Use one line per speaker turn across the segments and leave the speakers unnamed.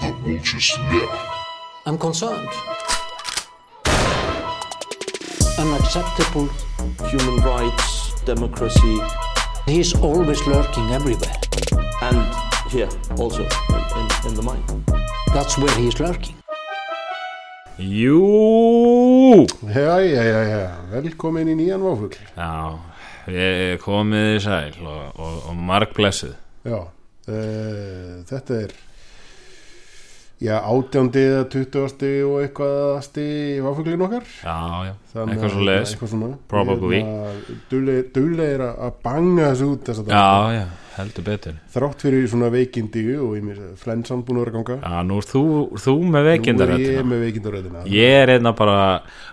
The vultures left.
I'm concerned. Unacceptable.
human rights, democracy,
He's always lurking everywhere.
and here also in, in, in the mind.
That's where he is lurking.
Jú
Já, já, já, já, velkomin í nýjan váfugl
Já, við komið í sæl og, og, og margblessuð
Já, uh, þetta er Já, átjándið, tuttugasti og eitthvaðasti váfuglin okkar
Já, já,
Þannig
eitthvað
að-
svo leiðis
Eitthvað svona hérna,
Probably.
Dulegir að banga þessu út þess að
Já, já, heldur betur
Þrátt fyrir svona veikindi og ég mér flensan búin að vera að ganga
Já, nú er þú, þú með
Nú er ég
veikindaröttina
með veikindaröðina
Ég er einna bara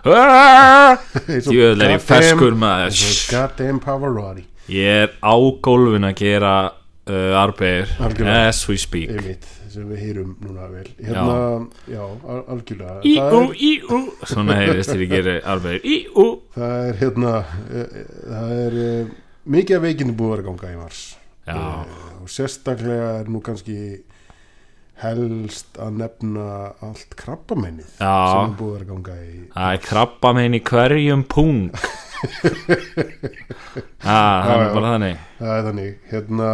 Djöðlega er ég ferskur maður Shhh.
Goddamn Pavarotti
Ég er á gólfin að gera uh, arbeir
Algjörlega.
As we speak
einmitt sem við heyrum núna vel hérna, já, al- algjörlega það
Í-ú,
er,
í-ú Svona heyrist þegar ég geri arbeir Í-ú
það er hérna e, e, það er e, mikið af veikindi búið að vera að ganga í mars E,
Já,
og sérstaklega er nú kannski helst að nefna allt krabbamennið
Já.
sem er búið að vera að ganga í
Það er krabba megin í hverjum pung ah, Það
já.
er bara þannig
það er þannig, hérna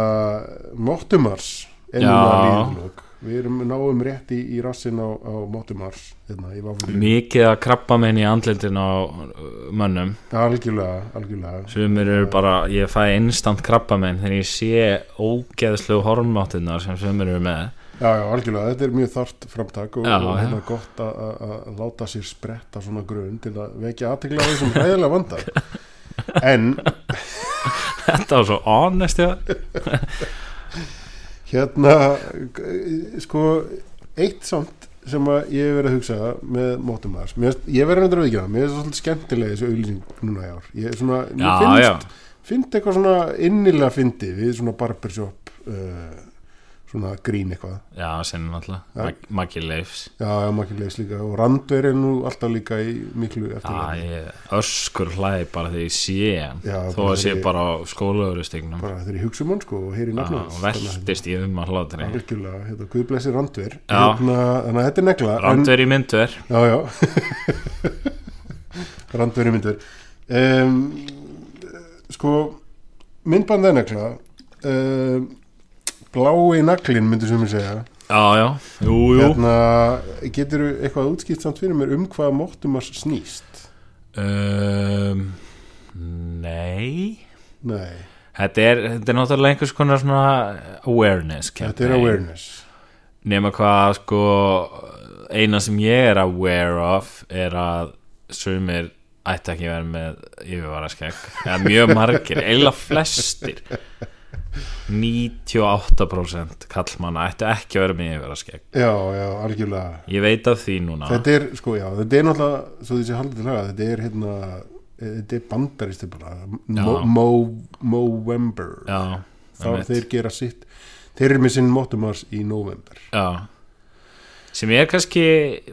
móttumars er
Já.
núna líðlög við erum náum rétt í, í rassin á, á móttumars hérna, í vaflunum
Mikið að krabba megin í andlitin á uh, mönnum
algjörlega, algjörlega
Sumir eru bara, ég fæ instant krabba megin þegar ég sé ógeðslegu hormáttinnar sem sumir eru með
Já, já, algjörlega, þetta er mjög þart framtak og,
Já,
og
já.
hérna gott að- að að láta sér spretta svona grunn til að vekja aðtegla á þessum hræðilega vanda en
Þetta var svo honest já.
hérna g- sko, eitt samt sem að ég hef verið að hugsa með mótum aðeins, mér, finnst- ég verið að vera ekki það mér er svolítið skemmtilega þessu auðlýsing núna í ár ég er svona, mér
Já, já,
finnst, finnst eitthvað svona innilega fyndi við svona barbershop uh, svona grín eitthvað
já, sinni náttúrulega Mag- Maggi Leifs
Já, já, maður leys líka og randver er nú alltaf líka í miklu
Já,
eftirlega
ég öskur hlæði bara þegar ég sé hann
Já,
Þó
bara
að sé
þegar ég-
bara á skólauguristegnum
bara þegar ég hugsa um hann sko og heyri nafnum
Ah, og veltist ég um að hlátri
algjörlega, hérna, guð blessi randver
Já.
hérna, þannig að þetta er negla en-
Randver í myndver
já, já randver í myndur um, sko myndband er negla um, blái naglin myndi sem ég segja
Já, já, jú, jú
hérna, getur eitthvað útskipt samt fyrir mér um hvað móttum að snýst
um, Nei
nei,
þetta er, þetta er náttúrulega einhvers konar svona awareness
þetta er awareness
Nefna hvað, sko eina sem ég er aware of er að sumir ætti ekki að vera með yfirvara skegg eða mjög margir, eila flestir 98% kallmanna ætti ekki að vera með yfirvara skegg
já, já, algjörlega
Ég veit af því núna
Þetta er, sko, já, þetta er náttúrulega svo því sem haldið til haga, þetta er hérna eh, þetta er bandarist bara Mo-
Já.
Mo- Movember
Já,
þá
einmitt.
þeir gera sitt þeir eru með sinn mótumars í november
Já sem er kannski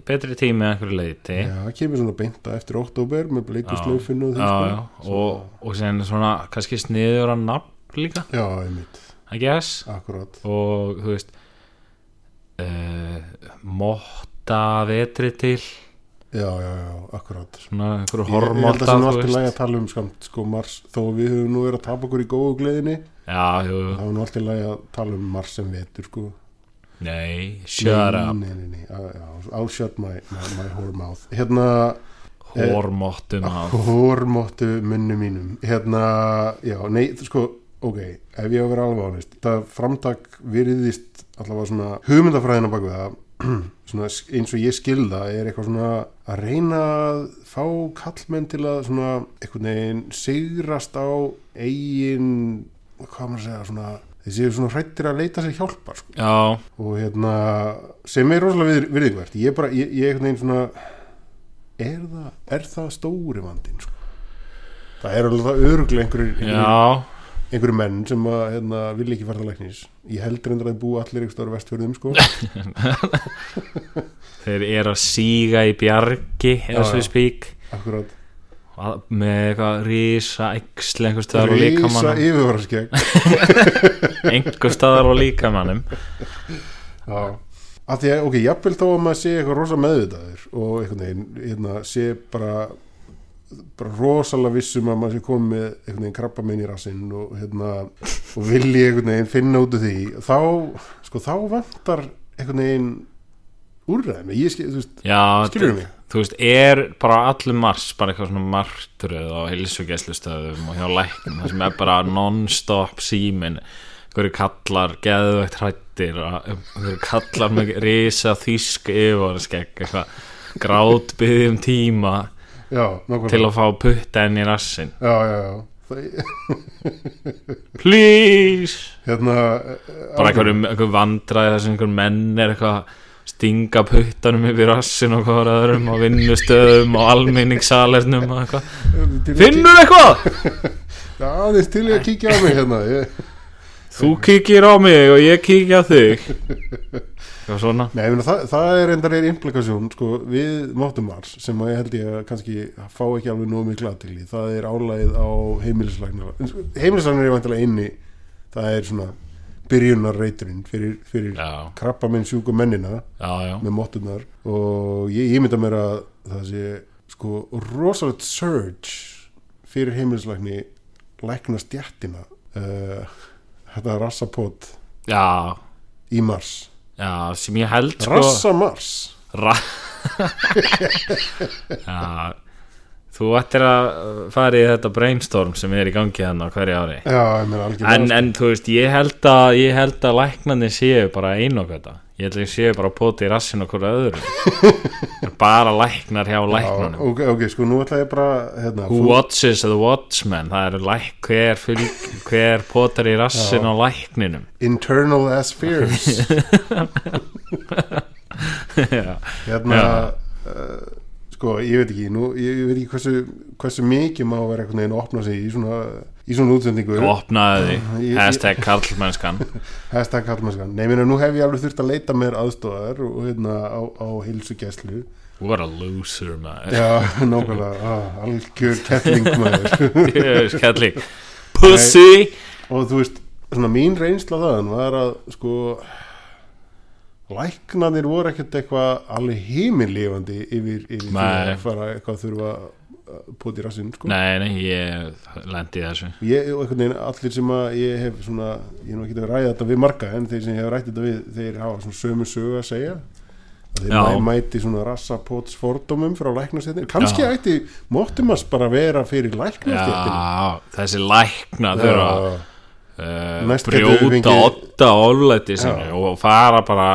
betri tími að einhverju leiti
Já, það kemur svona beinta eftir oktober með bleikuslaufinu og því,
já, já.
sko
og, og sen svona kannski sniður að nafn líka
Já, einmitt,
I guess
akkurat
og þú veist uh, motta vetri til
Já, já, já, akkurat
svona einhverju
Ég, ég held að
hormóta
sem allt í lagi að tala um skamt sko mars, þó við höfum nú verið að tapa okkur í góðu gleðinni,
já, jú,
þá er nú allt í lagi að tala um mars sem vetur, sko
nei, shut
Nei,
up
Nei, nei, nei, já, já, I'll shut my, my, my whore mouth Hérna,
hormóttum á
hórmóttu munnu mínum Hérna, já, nei, þú sko Ok, ef ég á að vera alveg ánist Það framtak virðist allavega svona hugmyndafræðina bak við það svona eins og ég skilda er eitthvað svona að reyna að fá kallmenn til að svona einhvern veginn sigrast á eigin hvað á maður að segja svona þeir séu svona hrættir að leita sér hjálpar sko
já,
og hérna sem er rosalega virð- virðingvert ég er bara, ég, ég einhvern veginn svona er það, er það stóri vandinn sko? það er alveg það öruglega einhverjir einhverjir
já
einhverjir menn sem að, hérna, vilja ekki fara til læknis ég heldur endur að þið búi allir ykkur stóra vestfjörðum sko.
þeir eru að síga í bjargi
Já,
eins og
já.
við spík
akkurat
Að- með eitthvað rísa æxl einhver staðar á
reysa
líkamannum
yfirvaraskegg
einhver staðar á líkamannum
Já. að því að, ok, jafnvel þá að maður sé eitthvað rosa meðvitaður og einhvern veginn, hérna, sé bara bara rosalega vissum að maður sé komið með einhvern veginn krabba í rassinn og hérna, og vilji einhvern veginn finna út af því, þá, sko, þá vantar einhvern veginn úrræðum, ég skil, þú veist,
Já, þetta-
Skilurðu mig?
Þú veist, er bara allir mars bara eitthvað svona martröð á hilsugæslustöðum og hjá læknum það sem er bara non-stop símin hverju kallar geðveikt hrættir hverju kallar með risa þýsk yfirvaraskegg eitthvað grátbyði um tíma
já, nákvæmlega
til að fá putta inn í rassin
já, já, já, það,
Please!
hérna
Bara einhverjum einhver vandræði þess að einhver menn er eitthvað að stinga puttanum yfir rassin og hvað öðrum á vinnustöðum og almenningssalernum og eitthvað
til-
Finnur eitthvað?
Já, aðeins til ég að kíkja á mig hérna ég,
Þú kíkir á mig og ég kíkja á þig Eitthvað svona
Nei, mena, það, það er endar er implikasjón sko, við máttum mars sem að ég held ég að kannski fá ekki alveg nóg miklu aðtegli það er álægið á sko, heimilislæknara heimilislæknara er vantilega inni það er svona byrjunar reyturinn fyrir, fyrir
Já,
krabba minn sjúku mennina
já, já
með móttunar og ég ímynda mér að það sé sko rosalegt surge fyrir heimilislækni lækna stjættina uh, þetta rassapot
Já,
í mars
já, sem ég held sko
Rassa Mars
Ra Já Þú ættir að fara í þetta brainstorm sem er í gangi hann á hverju ári
Já, ég meina algjörlega
en, en þú veist, ég held að ég held að læknandi séu bara einu og þetta ég held að ég séu bara að pota í rassin okkur öðru bara læknar hjá
Já,
læknunum
ok, ok, sko, nú ætla ég bara hérna,
Who
fú-
watches the watchman það eru læk, hver, fylg, hver potar í rassin á lækninum
Internal as fears
Já.
Hérna
Já.
uh, Sko, ég veit ekki nú, ég, ég veit ekki hversu, hversu mikið má vera einhvern veginn að opna sig í svona í svona útsendingu
opnaði því
Ég-
hashtag karlmennskan
Hashtag kallmannskan Nei, minna, nú hef ég alveg þurft að leita mér aðstóðar og hérna á, á hilsugæslu
what a loser maður
Já, nákvæmlega, ah, algjör kettling maður
Djöfull kelling. pussy
og þú veist, svona mín reynsla þaðan var að sko læknanir voru ekkert eitthvað alveg heimilifandi yfir, yfir því
Nei.
að fara eitthvað að þurfa að pota í rassinn sko.
nei, nei, ég lendi í þessu
ég, og einhvern veginn allir sem að ég hef svona, ég er nú ekki að ræða þetta við marga en þeir sem ég hef rætt þetta við, þeir hafa svona sömu sögu að segja að þeir
Já.
mæ, mæti svona rassapots fordómum frá læknastéttin, kannski
Já.
ætti móttumast bara að vera fyrir læknastéttin
já, þessi lækna þurfa að uh,
Næst getum við
brjóta
fengið-
otta oflæti
Já.
sinu og fara bara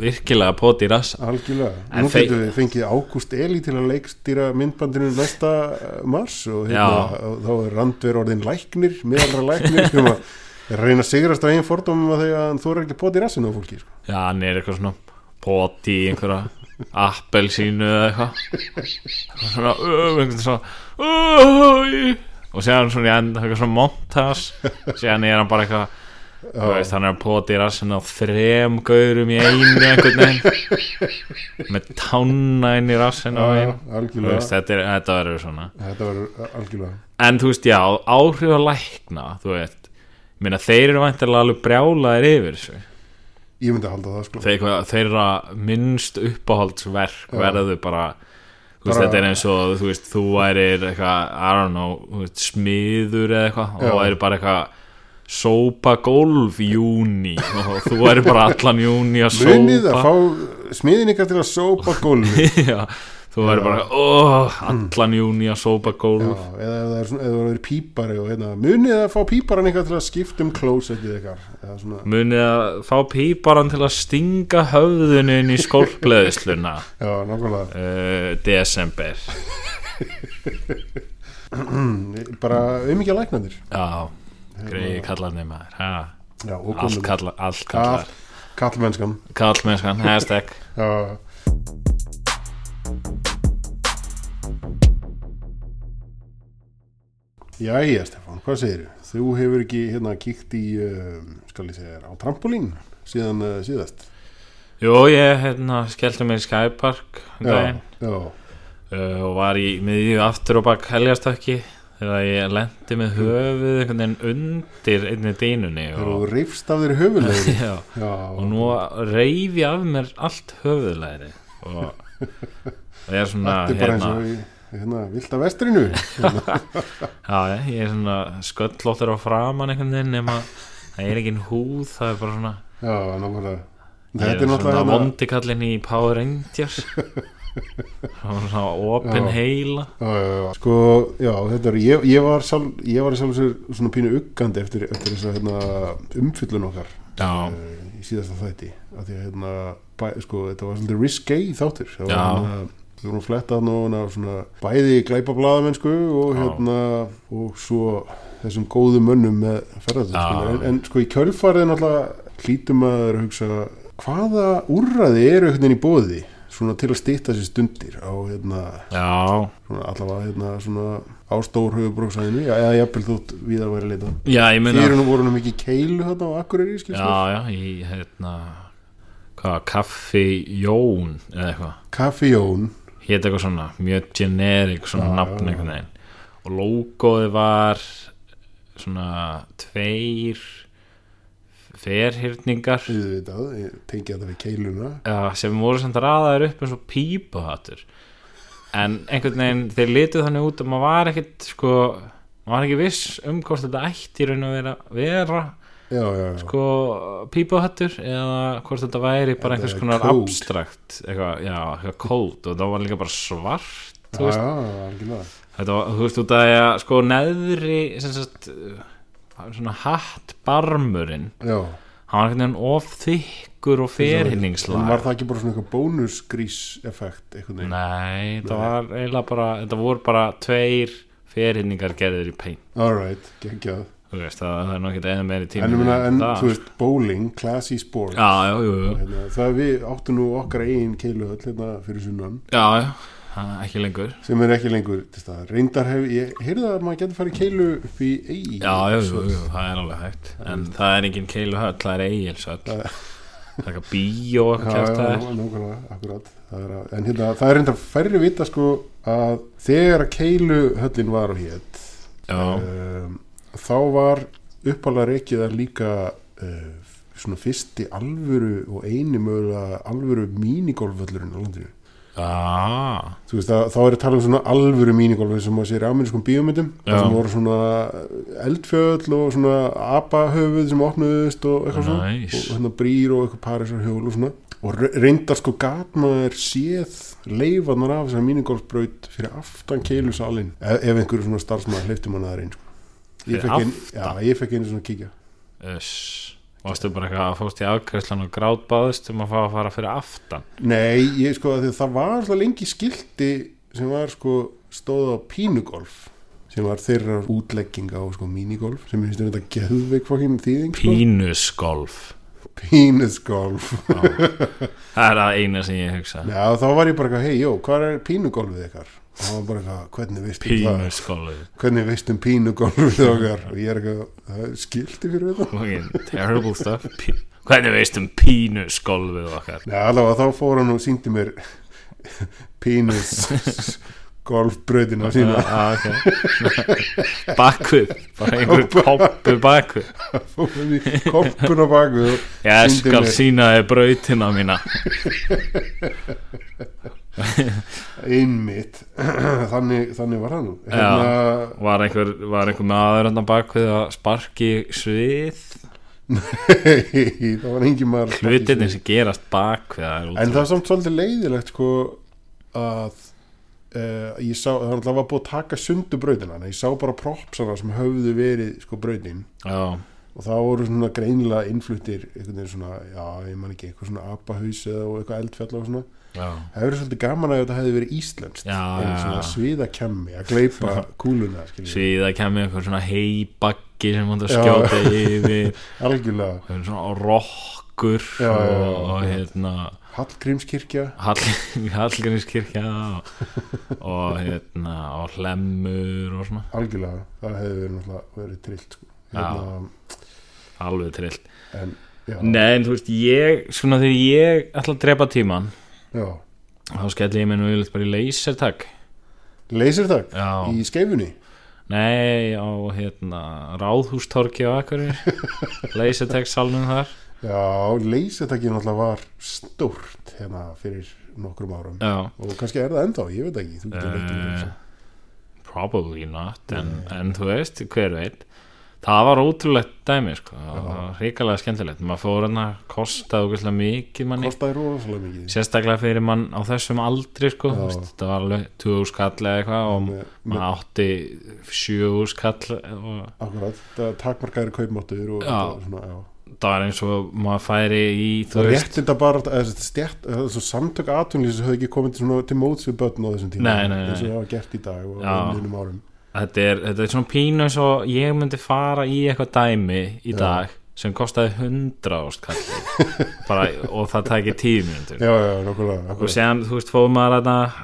virkilega poti í rassa
Algjörlega,
En
nú
þeir-
getum við fengið Ágúst Eli til að leikstýra myndbandinu næsta eh, mars og,
Já.
hérna, og þá er randver orðin læknir, meðalra læknir sem að reyna að sigrast á einn fordómum að þegar hann þóra ekki að pota í rassinu á fólki sko.
já, hann er eitthvað svona poti í einhverja appelsínu eða eitthvað Eitthvað svona, uh, einhvern svona uh, og séðan svona í enda eitthvað svona montas séðan er hann bara eitthvað Þú veist, hann er að poti í rassinu á þrem gaurum í einu einhvern veginn með tánna inn í rassinu á einu Þú
algjörlega,
veist, þetta, er, þetta verður svona
þetta var eh, algjörlega
En þú veist, já, áhrif að lækna Þú veist, ég meina þeir eru væntanlega alveg brjálaðir yfir þessu
ég myndi að halda það sko
Þeir, hvað- þeirra minnst uppáhaldsverk verður bara Þú veist,
Bara-
þetta er eins og, þú veist, þú værir eitthvað, I don't know, þú veist, smiður eða eitthvað og
Já.
þú væri bara eitthvað sópa gólf í júni og þú væri bara allan júni að sópa
munið að fá smiðin ykkar til að sópa gólfi
Já, þú væri bara, oh, allan júni að sópa
Já,
gólf
eða ef það er svona- ef það er pípari og hérna, munið að fá píparan ykkar til að skipta um klósettið ykkar eða svona,
munið að fá píparan til að stinga höfðinu inn í skólpleðisluna
já, nákvæmlega
uh, desember
bara auðmikið læknandir
já, greiði kallarni maður ha,
já, Hérna. og
allt
konur.
kallar, allt
Kall,
kallar
kallmennskan
kallmennskan, hashtag
Já, Jæja, Stefán, hvað segir þú? Þú hefur ekki hérna kíkt í, um, skal ég segja, þér, á trampolín síðan uh, síðast.
jú, ég hérna skellti mér í Skypark um daginn eh,
já,
uh, og var í miðju aftur og bak helgastökki þegar ég lendi með höfuð einhvern veginn undir einni dýnunni
Þegar þú
og,
rifst af þér höfulegri
já,
Já,
og nú reyf ég af mér allt höfuðlæri og það er svona
þetta er bara eins
hérna,
og í, hérna, vilt af vestrinu
já, ég er svona sköllóttur á framan einhvern veginn nema það er engin húð, það er bara svona
Já, náttúrulega
ég
Þetta er
er svona
náttúrulega hérna-
vondikallin í Power Rangers og svona opin
Já.
heila
Já, já, já. Sko, já, þetta er, ég, ég var sjálf, ég var sjálf sér svona pínu uggandi eftir, eftir þess að hérna, umfyllun okkar
já,
eh, í síðasta þætti af því að hérna, bæ, sko, þetta var svolítið risky þáttur það var
Já.
hérna, við vorum flettað núna af svona bæði glæpablaðamennsku og
Já.
hérna og svo þessum góðu mönnum með ferðartöð
Já.
en, en sko í kjölfarið náttúrulega hlýtum maður að hugsa hvaða úrraði eru hérna í bóði svona til að stýta sér stundir á hérna,
já
svona, allavega hérna, svona á stór höfubróksæðinu eða jafnvel þótt viðar væri leitað
já, ég meina
Þið eru nú voru nú mikið keilu hérna á Akureyri, skilst
Já, já, í hérna hvað, kaffi Jón eða eitthvað,
Kaffi Jón
hétt eitthvað svona mjög generik svona
Já,
nafn
já,
einhvern veginn og logoði var svona tveir ferhyrningar
auðvitað, ég tengi þetta við keiluna
uh, sem voru samt raðaðir upp eins og pípuhattur en einhvern veginn þeir litu þannig út að maður var ekkit sko, maður var ekki viss um hvort þetta ætti í raun að vera, vera
já, já, já,
sko pípuhattur eða hvort þetta væri bara
Þetta
einhvers
er
konar
code.
abstrakt eitthvað, já, eitthvað kóld og það var líka bara svart þú
já,
veist,
já, algjörlega
þetta var, þú veist, út af því að sko neðri, sem sagt uh, svona hattbarmurinn
já,
hann var einhvern veginn of þykkur og
en var
ferhinningslag
það ekki bara svona eitthvað bónusgrís effekt, einhvern veginn
nei, það var eiginlega bara þetta voru bara tveir ferhinningar gerðir í pein
alright, geggjað
þú veist, það, það er nú ekkert eða meiri tími
en, ég meina, en
það.
þú veist, bowling, classy sport
já, já, jú, jú.
hérna, það við áttum nú okkar eigin keilu hérna fyrir sunnan,
já, já, það- ekki lengur
sem er ekki lengur til stað, reyndar hef, ég heyrði að maður getur farið keilu upp í eigi
Já, jú, jú, jú, það er alveg hægt En
Mm.
það er engin keiluhöll, það er eigilsöll Það er eitthvað bíó og
Já,
eitthvað
já,
kjafta
já, nákvæmlega, akkurat það er, að- en hérna, það er reyndar færri vita sko að þegar að keilu höllin var og hétt
Já,
um, þá var uppalega reikið að líka uh, svona fyrsti alvöru og eini mögulega alvöru mínigolfvöllurinn á landinu
já,
þú veist að þá er að tala um svona alvöru mínigolf sem maður sér í amerískum bíómyndum
Já.
það sem voru svona eh, eldfjöll og svona apahöfuð sem opnuðust og eitthvað svona
Nice.
og hérna brýr og eitthvað parisarhjól og svona og re- reyndar sko gat maður séð leifanar af þessar mínigolfbraut fyrir aftan keilusalinn e-, ef, ef einhverju svona starfsmaður hleyfti manna það reyn sko.
Fyrir
ég fekk einu- já,
aftan?
ég fekk einu svona kíkja
uss Varstu bara eitthvað að fóst í afgræslan og grátbáðist um að fá að fara fyrir aftan
nei, ég sko að því að það var alltaf lengi skilti sem var sko stóð á pínugolf sem var þeirra útlegging á sko, minigolf sem ég finnst þetta geðveik fokkin þýðing sko.
Pínusgolf
pínusgolf
Það er það eina sem ég hugsa
Já, þá var ég bara eitthvað, hei, jó, hvað er pínugolfið ykkar? Og það var bara eitthvað, hvernig veistu um það?
Pínusgolf
Hvernig veistu um pínugolfið okkar? Og ég er eitthvað, það er skilti fyrir þetta?
Fucking Terrible stuff Pí Hvernig veist um pínusgolfið okkar
Já, allavega þá fór hann og síndi mér pínusgolfbröðina
Já,
sína
ah, ok Bakvið Bara einhver koppu bakvið
og koppun á baku
Ég
Sýndu
skal
mér.
sína þér brautina mína
einmitt þannig, þannig var hann
Já.
hérna,
Var einhver, var einhver maður hann bak við að sparki í svið
það var engin maður að smakka í
Hlutinni
sig.
sem gerast bak við það er
en
útrúlega
það er samt svolítið leiðilegt sko að uh, ég sá, það var alltaf að búið að taka sundu brautina, en ég sá bara propsana sem höfðu verið sko brautin
Já,
og það voru svona greinilega innfluttir einhvern veginn svona, já, ég man ekki eitthvað svona apahaus eða og eitthvað eldfjall og svona
já
það hefur svolítið gaman að þetta hefði verið íslenskt
Já,
en
já,
svona
já.
sviðakemmi að gleipa kúluna skiljum við.
Síða kemur einhver svona heibaggi sem hann að
Já.
skjóta yfir
algjörlega,
einhver svona rokkur
Já, já, já.
og, og hérna
Hallgrímskirkja
Hall, Hallgrímskirkja og, og hérna og hlemmur og svona
algjörlega, það hefði verið náttúrulega verið trillt sko.
alveg trillt
en, Hérna, já,
Nei, en þú veist, ég, svona þegar ég ætla að drepa tíman
já.
þá skelli ég mér nú yfirleitt bara í leysertak
leysir þakk
Já.
í skeifunni
Nei, á hérna Ráðhústorki á Akureyri Leysetex salnum þar
Já, leysetakið náttúrulega var stórt hérna fyrir nokkrum árum
Já,
og kannski er það ennþá, ég veit ekki þú getur veit um
Eh,
þessu.
probably not en, en þú veist, hver veit það var ótrúlegt dæmi sko. það var hrikalega skemmtilegt maður fór hann að kosta ógeðslega mikið manni
Kostaði rosalega mikið
sérstaklega fyrir mann á þessum aldri sko.
Já.
Þú veist, þetta var alveg 2000 skall eða eitthvað og
Með-
maður átti 7000 skall og
Akkurat, það takmarkaður kaupmáttur og
Já.
þetta svona, já
það var eins og maður færi í þú
Það
veist,
réttinda bara, þessi stjætt, þessi samtök atunlýsins höfðu ekki komið til, svona, til móts við börn á þessum tíma
Nei, nei, nei.
eins og það var gert í dag og
Já.
önnunum árum
þetta, er, þetta er svona pínu eins og ég myndi fara í eitthvað dæmi í dag sem kostaði 100 skall bara, og það tæki 10 mínútur
Já, já, nokkulega,
og
akkurat
séðan, þú veist, fóð maður að uh,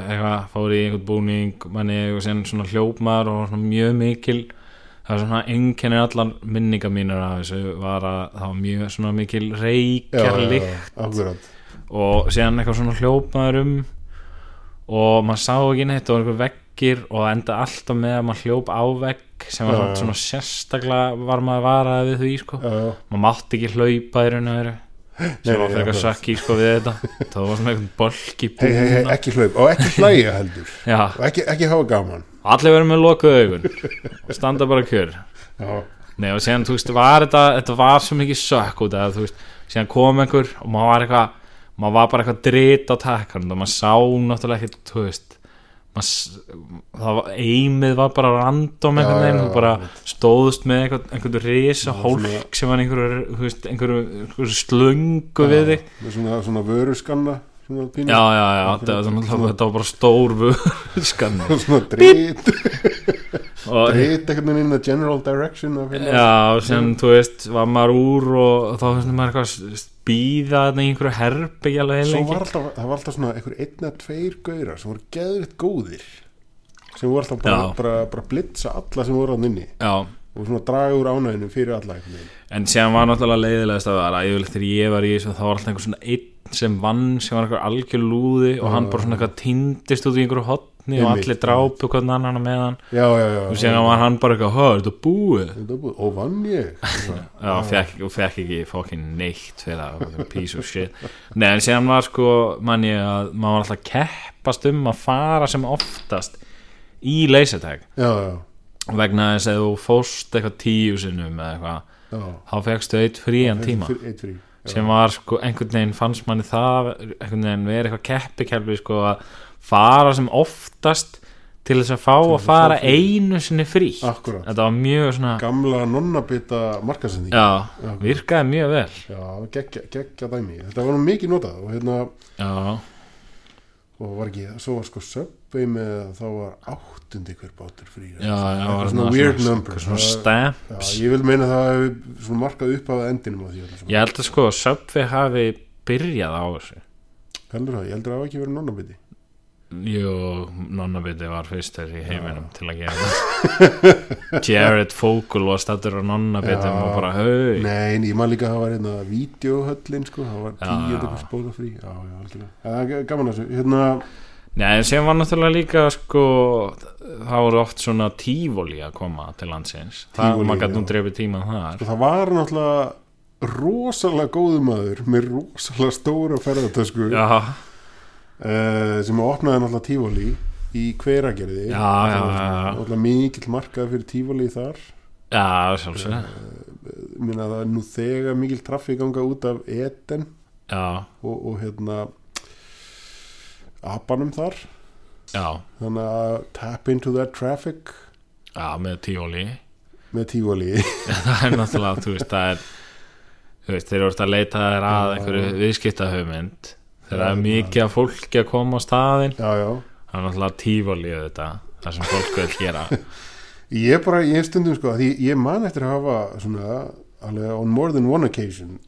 eitthvað, fór í einhvern búning manni, og séðan svona hljóp maður og svona mjög mikil það var svona einkennir allar minninga mínur af þessu var að það var mjög svona mikil reykjarlík
Akkurat,
og séðan eitthvað svona hljóp maður um og maður sá ekki neitt og einhver veggir og það enda alltaf með að maður hljóp á vegg sem var
Já,
svona,
já.
svona sérstaklega var maður varaði við því sko
já, já
maður mátti ekki hlaupa í raun og veru
Nei,
sem var
nei,
frekar
akkurat.
sökki sko við þetta það var svona einhvern bolki
Hei, hei, hei, ekki hlaup og ekki hlæja heldur
Já,
og ekki, ekki hafa gaman
allir verðum með lokuð augun og standa bara kjör
Já,
Nei og síðan, þú veist, var þetta þetta var svo mikið sökk út að þú veist síðan kom einhver og maður var eitthvað maður var bara eitthvað drit á takkan og maður sá náttúrulega ekki, þú veist maður, s- það var, eimið var bara random
Já,
einhvern veginn
já,
og bara
já.
stóðust með einhvern, einhvern risa
svona-
hólk sem var einhverju, þú veist, einhverju, einhverju slungu við þig
með svona, svona vöruskanna svona pínu
Já, já, já, þetta var náttúrulega- þetta var bara stór vörskanni
svona dreit,
og
dreit einhvern veginn in the general direction af hérna.
Já, sem þú veist, var maður úr og þá finnst maður eitthvað að býða þarna í einhverju herbyggja alveg heil
Svo var alltaf, það var alltaf svona einhver einn eða tveir gaurar sem voru geðvitt góðir sem voru alltaf bara,
Já.
bara, bara blitza alla sem voru á nynni
Já,
og svona draga úr ánæðinu fyrir alla einhvern veginn
en sem var náttúrulega leiðilegast að vera æfilegt þegar ég var í þessu þá var alltaf einhver svona einn sem vann sem var einhver algjör lúði og hann bara svona eitthvað tindist út í einhverju hotni og
Einmitt, Ah.
allir drápu hvernig annan með hann
Já, já, já
og sem var hann bara eitthvað, hör, þetta búið
Þetta er búið, og vann ég
Já, fekk, og fekk ekki fokkin neitt fyrir það, piece of shit Nei, en síðan var sko, mann ég að maður var alltaf að keppast um að fara sem oftast í leysertag
Já, já,
vegna þess að þú fóst eitthvað tíu sinnum eða eitthvað,
já
þá fekkstu eitt frían tíma
Eitt fyrir- Eitt fyrir
sem var sko, einhvern veginn fannst manni það einhvern veginn verið eitthvað keppikelfi sko að fara sem oftast til þess að fá að fara einu sinni frí
Akkurat.
Þetta var mjög svona,
Gamla nonnabita markasending
já, virkaði mjög vel
Já, geggja, geggja dæmi Þetta var nú mikið notað og hérna
Já,
og var ekki, svo var sko Subway með þá var áttundi hver bátur frí
já, já var
svona
þarna
weird
svona-
number.
svona
Það- Já,
stamps
ég vil meina það hefur svona markað upp af endinum á því öllu saman.
ég held að sko að Subway hafi byrjað á þessu
Heldur það, ég heldur það hafi ekki verið nonnabiti
jú, nonnabiti var fyrst í heiminum til að gera það Jared Fogel var stættur á
Já.
nonnabitum og bara hau
Nei, en ég man líka að það var hérna videohöllin sko, það var
Já.
tíu þetta hvers bóta frí Já, já, algjörlega Það er gaman að þessu, hérna
Nei, en sem var náttúrulega líka sko, það voru oft svona tífóli að koma til landsins það,
Tívolí,
maður gæti nú
já. Sko,
dreifið tíma þar
og það var náttúrulega rosalega góðum maður með rosalega stóra ferðartösku uh,
Já,
Eh, sem opnaði náttúrulega tífóli í hveragerði
Já,
Það
já, já,
var
já.
náttúrulega mikill markað fyrir tífóli þar
já sjálfsög
minna það er nú þegar mikill traffi ganga út af Eden
Já,
og, og hérna abanum þar
já,
þannig að tap into that traffic
já, með tífóli
með tífóli
það er náttúrulega, þú veist, það er þú veist, þeir eru orðið að leita þér að einhverju viðskiptahugmynd þegar það er mikið af fólki að koma á staðin
já, já
það er náttúrulega tífalið þetta það sem fólk vil gera
Ég bara, ég hef stundum sko, því ég man eftir að hafa svona, alveg on more than one occasion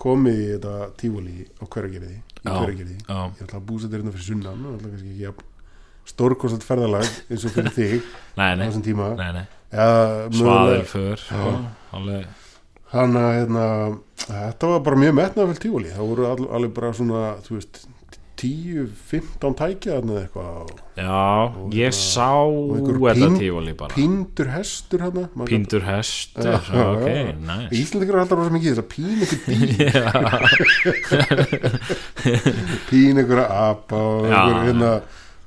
komið í þetta tífóli á hverjargerði, í
Já,
hverjargerði.
já.
Ég ætla að búsa þetta hérna fyrir sunnan og ætla kannski ekki að stórkostað ferðalag eins og fyrir þig
nei,
á
nei,
þessum tíma.
nei, nei.
Ja,
svaðil
mögulega.
för sko, alveg.
Þannig að hérna, þetta var bara mjög metnafell tífóli. Það voru all, alveg bara svona, þú veist, 10-15 tækið hann eða eitthvað og
Já, ég sá
einhver
þetta
pín-
tífali bara
píndur hestur hann
Píndur hestur,
já,
ok,
já.
nice
Íslandingur er alltaf rosa mikið þess að pín ykkur dýr pín ykkur apa og
Já.
einhver, hérna,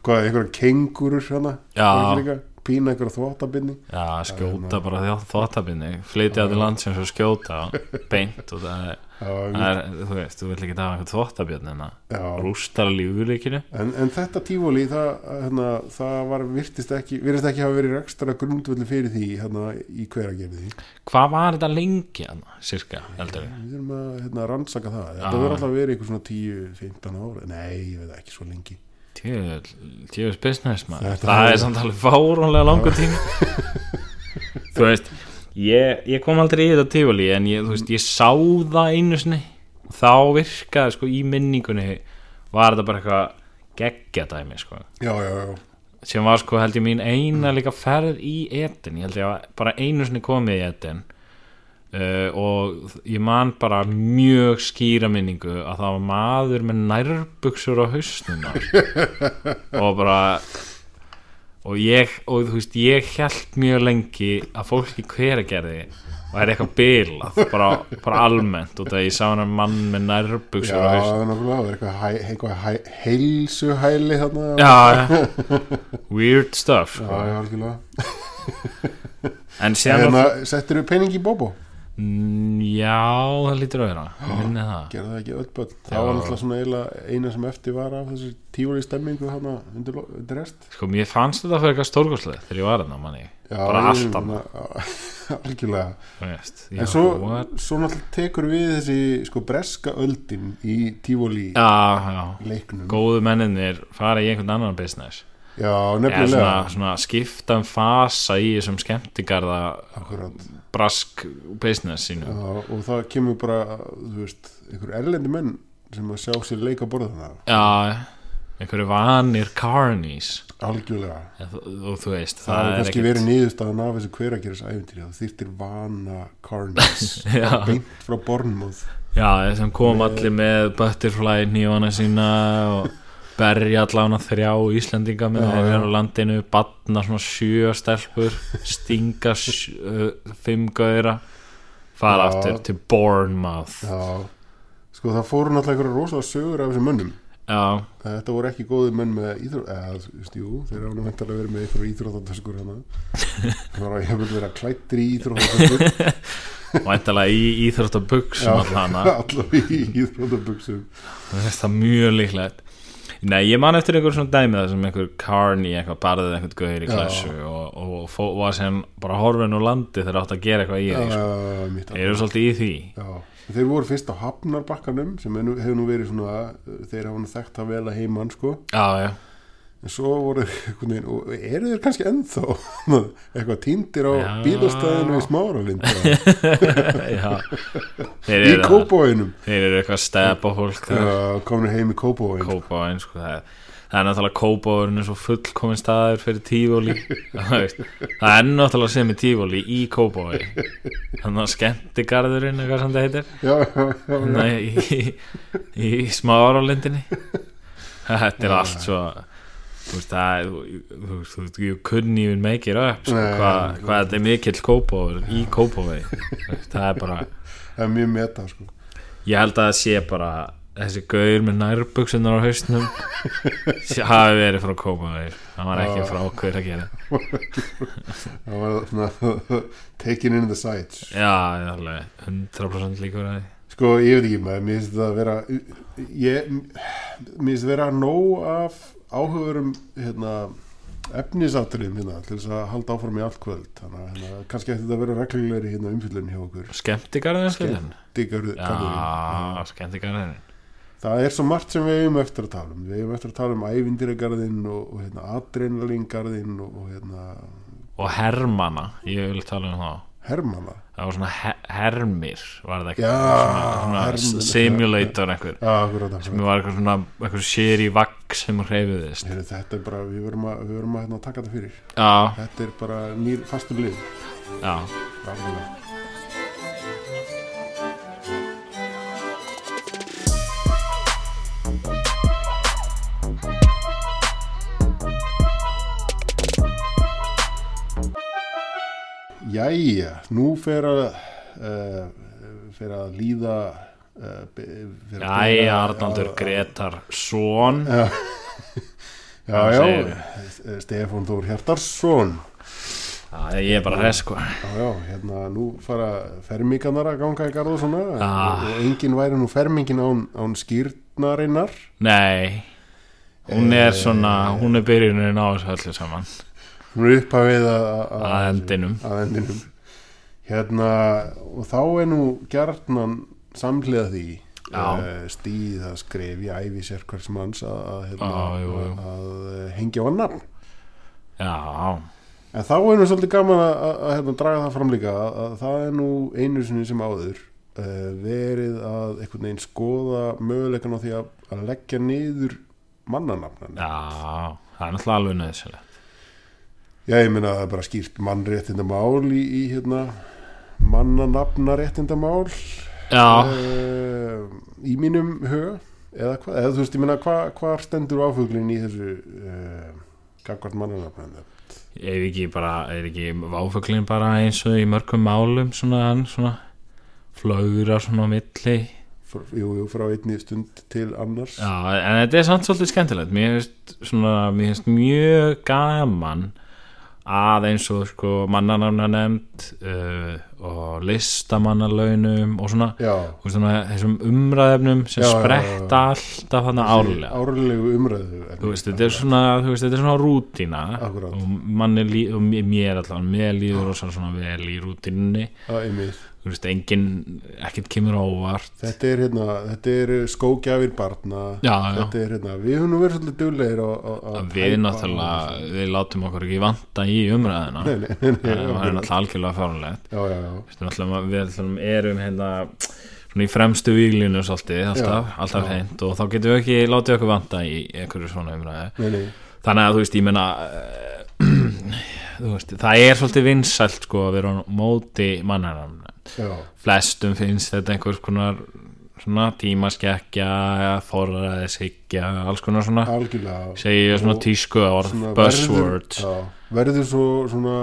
hvað, einhver kengurur hana,
Já.
pín ykkur þvottabinni
Já, skjóta bara því þóttabinni Flytja til landsins og skjóta Beint og það er, það
Já,
er Þú veist, þú vill ekki hafa einhvern þóttabjörn hérna
Já.
Rústar lífurleikinu
en, en þetta tífóli það, hérna, það var virtist ekki virtist ekki hafa verið rekstara grundvöldu fyrir því hérna, í hver að gera því
Hvað var þetta lengi hérna, cirka, heldur við?
við erum að hérna, rannsaka það þetta
Ah.
verður alltaf verið eitthvað svona 10-15 ára nei, ég veit það, ekki svo lengi
Tjöfus business maður
Þetta
Það
var-
er samt alveg fáránlega langur tími Þú veist ég, ég kom aldrei í þetta tífali En ég, þú veist, ég sá það einu sinni Og Þá virkaði sko í minningunni Var þetta bara eitthvað geggja dæmi sko
já, já, já,
sem var sko held ég mín eina líka ferð í etin ég held ég að bara einu sinni komið í etin uh, og ég man bara mjög skýra minningu að það var maður með nærbuksur á hausnum á sér. og bara og ég, og þú veist, ég held mjög lengi að fólk í hveragerði væri eitthvað bilað bara, bara almennt og það ég sá hann mann með
já,
nærbuksur á hausnum
nákvæmlega það er eitthvað, hæ, eitthvað hæ, heilsuhæli þarna
já, já. weird stuff
já,
sko.
já, algjörlega
en síðan
Hérna, settir við pening í Bobo
Mm, Já, það lítur að vera Ég minni það
gerði það ekki öll börn það var náttúrulega svona eiginlega eina sem eftir var af þessu tífóli stemmingu hana undir, lo- undir rest
Sko, mér fannst þetta fyrir eitthvað stórgóðslega þegar ég var hérna, manni
já,
Bara
ég-
allt annað,
svona, algjörlega
þú veist
en svo, svo náttúrulega tekur við þessi sko breska öldin í tífóli
Já, já
leiknum
Góðu menninir fara í einhvern annan business
já,
Eða
nefnilega
svona, svona skiptan fasa í þessum skemmtigarða
Akkurat.
brask business sínu
Já, og það kemur bara þú veist, einhver erlendi menn sem að sjá sér leika borðana
Já, einhverju vanir carnies
algjörlega
Eð- og þú veist, það,
það, er
er
kannski verið nýðustaðan af þessu hverageris æfintýri þú þyrtir vana Carnes
Já.
beint frá Bornmouth
Já, sem kom allir með butterfly nýjana sína og berja allan að þrjá Íslendinga með þeir eru á landinu batna svona sjö stelpur stinga sj- uh, fimm gauðra fara
Já.
aftur til Bournemouth Já,
Já, sko það fóru náttúrulega einhverja rosalega sögur af þessum mönnum Þetta voru ekki góði menn með íþrótt eða, þú veist, jú, þeir hafa nú væntanlega verið með einhverju íþróttatöskur hana Það var að hefur verið að klættri í íþróttatöskur
væntalega í íþróttabugs
Já,
hana
allavega í íþróttabuxum
Mér finnst það mjög líklegt Nei, ég man eftir einhver svona dæmi það sem einhver Carney eitthvað barðið einhvern gauður í
Já.
klassu og, og fó, var sem bara horfin úr landi þegar átt að gera eitthvað í því sko.
Já, mitt
Ég eru svolítið í því
Já, þeir voru fyrst á Hafnarbakkanum sem er nú- hefur nú verið svona þeir hafa nú þekkt að vela heimann sko
Já, já,
en svo voru þeir einhvern veginn og eru þeir kannski ennþá eitthvað týndir á
Já.
bílastæðinu í smáralind
já. Þeir,
í
eru það.
kópóinum
þeir eru eitthvað að stepa fólk þegar
uh, komin heim í Kópavóin
kópáin sko, það, er- það er náttúrulega kópáin eins og fullkomin staður fyrir tífóli það er náttúrulega sem er tífóli í kópáin þannig að skemmtigarðurinn eitthvað sem það heitir
já, já, já, já.
Nei, í, í, í smáralindinni þetta er allt svo þú veist það er- þú- þú veist, þú veist, you couldn't even make it up sko,
Nei,
hvað hva þetta er mikill kópáin í kópáin það er bara
það er mjög meta sko.
Ég held að það sé bara þessi gaur með nærbuksunar á hausnum sé- hafi verið frá Kópavæg hann var ekki frá hver að gera
það var svona taken in the sights
Já, ég er alveg 100% líkur að því
sko ég veit ekki maður, mér finnst það að vera ég, mér finnst vera nóg af áhugurum hérna efnisátriðum hérna til þess að halda áfram í allt kvöld þannig að hérna, kannski ætti þetta að vera reglulegri hérna umfyllun hjá okkur
Skemmtigarðin skilin?
Diggar,
Já, skemmtigarðin
Það er svo margt sem við eigum eftir að tala um. Við eigum eftir að tala um ævindiragarðinn og, og hérna, adrenalingarðinn og, og hérna,
og Hermanna, ég vil tala um það
hermana.
það var svona he hermir var það ekki
Já,
svona,
hermir.
svona simulator einhver
Já, akkurat,
sem
akkurat.
var eitthvað svona eitthvað sér í vagg sem hreyfiðist
Heru, þetta er bara, við verum að, við verum að hérna, taka þetta fyrir.
Já,
Þetta er bara nýr fastur lið.
já
Algjörlega. Jæja, nú fer að uh, fer að líða uh, be- fer að
Jæja,
byrja-
Arnaldur Gretar Són
Já, já,
Hvað
já,
segirðu?
eh, Stefán Þór Hjartarsson
Já, ég er bara hress sko
Já, já, hérna, nú fara fermingarnar að ganga í garð og svona
Ah.
og enginn væri nú fermingin án, án skýrnarinnar
Nei Hún er svona, hún er byrjunin á þessu öllu saman
hún er upphafið að að-
að endinum
að endinum hérna, og þá er nú gjarnan samhliða því
Já.
eh, stigið það skref í ævi sér hvers manns að, að, hérna,
Já, jú, jú.
að, að hengja á annar
Já,
en þá er nú svolítið gaman að, að, að hérna, draga það fram líka að, að það er nú einu sinni sem áður uh, verið að einhvern veginn skoða möguleikan á því að, að leggja niður mannanafnan
já Það er náttúrulega alveg nöðsynlegt
Já, ég meina að það er bara skýrt mannréttindamál í, í hérna mannanafnaréttindamál
Já,
uh, í mínum huga eða hvað, eða þú veist, ég meina hvað hva stendur áfuglin í þessu uh, gagvart mannanafnan
er ekki bara er ekki váfuglin bara eins og í mörgum málum svona, hann svona flögra svona á milli
Fr- jú, jú, frá einni stund til annars
Já, en þetta er samt svolítið skemmtilegt Mér finnst svona, mér finnst mjög gaman að eins og sko mannanafna nefnd uh, og listamannalaunum og svona
Já.
og svona þessum umræðefnum sem
Já, já, já, já.
spretta alltaf hann árlega
árlegu umræðu
þú veist, þetta er svona, þú veist, þetta er svona rútína
Akkúrat.
og manni lí, og mér- mér allan, mér líður og svona vel í rútínunni,
að, einmitt.
þú veist, engin ekkert kemur á óvart
þetta er hérna, þetta er skógjafir barna
Já, já.
þetta er hérna, við höfum nú verið svolítið duglegir að- að- að
við
tæpa á þessu.
náttúrulega, við látum okkur ekki vanta í umræðina
Nei, nei, nei, nei,
það er
já,
náttúrulega algjörlega fárunlegt
já, já, já.
Þú veist, náttúrulega, við ætlum, erum hérna svona í fremstu výlinu svolítið, alltaf,
Já,
alltaf
já.
hreint og þá getum við ekki, látið okkur vanta í einhverju svona umræði
Nei, nei.
þannig að þú veist, ég menna þú veist, það er svolítið vinsælt sko að vera á móti mannanam
Já,
flestum finnst þetta einhvers konar svona tímaskekkja forraðis higgja, alls konar svona
algjörlega
segja svona
Og
tísku orð,
svona
buzzwords
verður, já, verður svo svona,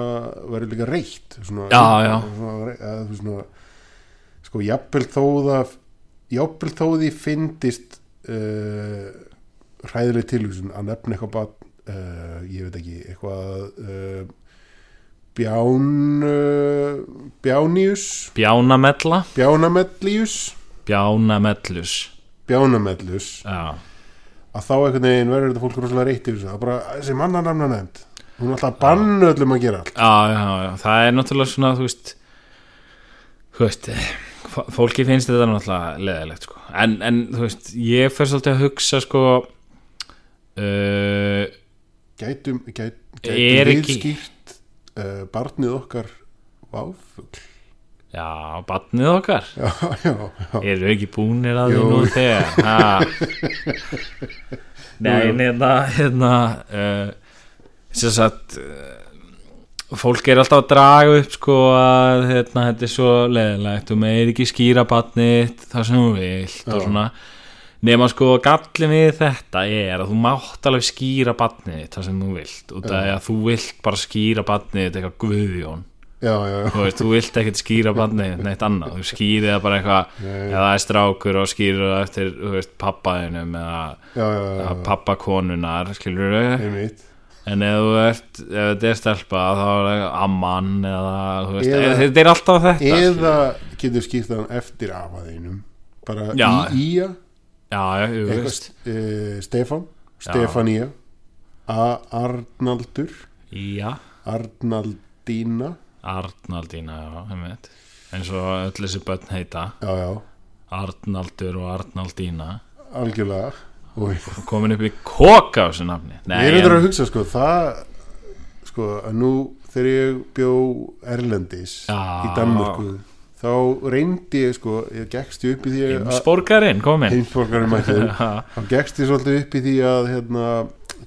verður líka reitt svona,
Já, já.
svona, að, þú veist, svona, sko, jafnvel þó það jafnvel þó því fyndist uh, hræðileg tilhugsun að nefna eitthvað bara, uh, ég veit ekki, eitthvað uh, Bján uh, Bjánius
bjánamella,
Bjánamellius
bjánamellus
Bjánamellus
já,
að þá einhvern veginn verður þetta fólk rosalega reytt yfir þessu, það er bara þessi mannanamna nefnd hún er alltaf að banna öllum að gera allt
já, já, já, það er náttúrulega svona, þú veist þú veist eh, f- fólki finnst þetta náttúrulega leðilegt sko. en, en þú veist, ég fer svolítið að hugsa sko uh,
gætum, gæt,
Er
gætum
ekki-
viðskýrt uh, barnið okkar váfugl
já, batnið okkar
já, já, já,
eru ekki búnir að því
Jú.
nú þegar ha. nei, neina hérna uh, sem sagt uh, fólk er alltaf að draga upp sko að hérna, þetta er svo leðilegt og meir ekki skýra batnið það sem þú vilt og svona nema sko gallin við þetta er að þú mátt alveg skýra batnið þitt það sem þú vilt og það er að þú vilt bara skýra batnið þitt eitthvað guðjón
já, já, já.
þú veist, þú vilt ekkert skýra barnið neitt annað, þú skýrið það bara eitthvað
Nei.
eða það er strákur og skýrir það eftir þú veist, pappaðinum eða,
já, já,
eða
já,
pappakonunar, skilur þau
einmitt
en ef þú ert, ef þetta er stelpa þá er það amman eða, þú veist,
Eða-
eða, þetta er alltaf þetta
eða getur skýrt þann eftir afaðinum bara já.
Já.
í ía
já, já, þú veist
uh, Stefan, Stefanía A- Arnaldur
já,
Arnaldína
Arnaldína, já, heimitt eins og öll þessi börn heita
já, já,
Arnaldur og Arnaldína
algjörlega og
komin upp í koka á þessu nafni Nei,
ég er þetta
en-
að hugsa sko það sko að nú þegar ég bjó Erlendis
Já.
í Danmörku þá reyndi ég sko ég gekkst ég upp í því að
Heimsborgarinn, komin
heimsborgarinn mættur þá gekkst ég svolítið upp í því að hérna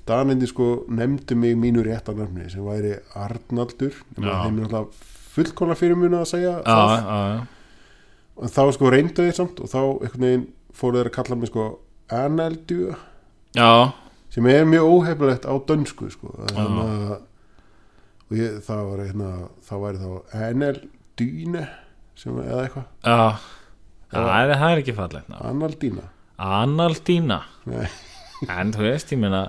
Danindi sko nefndu mig mínu réttanafni sem væri Arnaldur þeim
Já.
er alltaf fullkona fyrir muna að segja
Já,
það
já, já
en þá sko reyndu þeir samt og þá einhvern veginn fóru þeir að kalla mig sko Analdu
Já,
sem er mjög óhefnilegt á dönsku sko. þannig að og ég, það var hérna, það væri þá NL Dýne sem, eða eitthvað,
Já, það er, það er ekki fallegt nafn.
Analdína
Analdína
Nei.
En þú veist, ég meina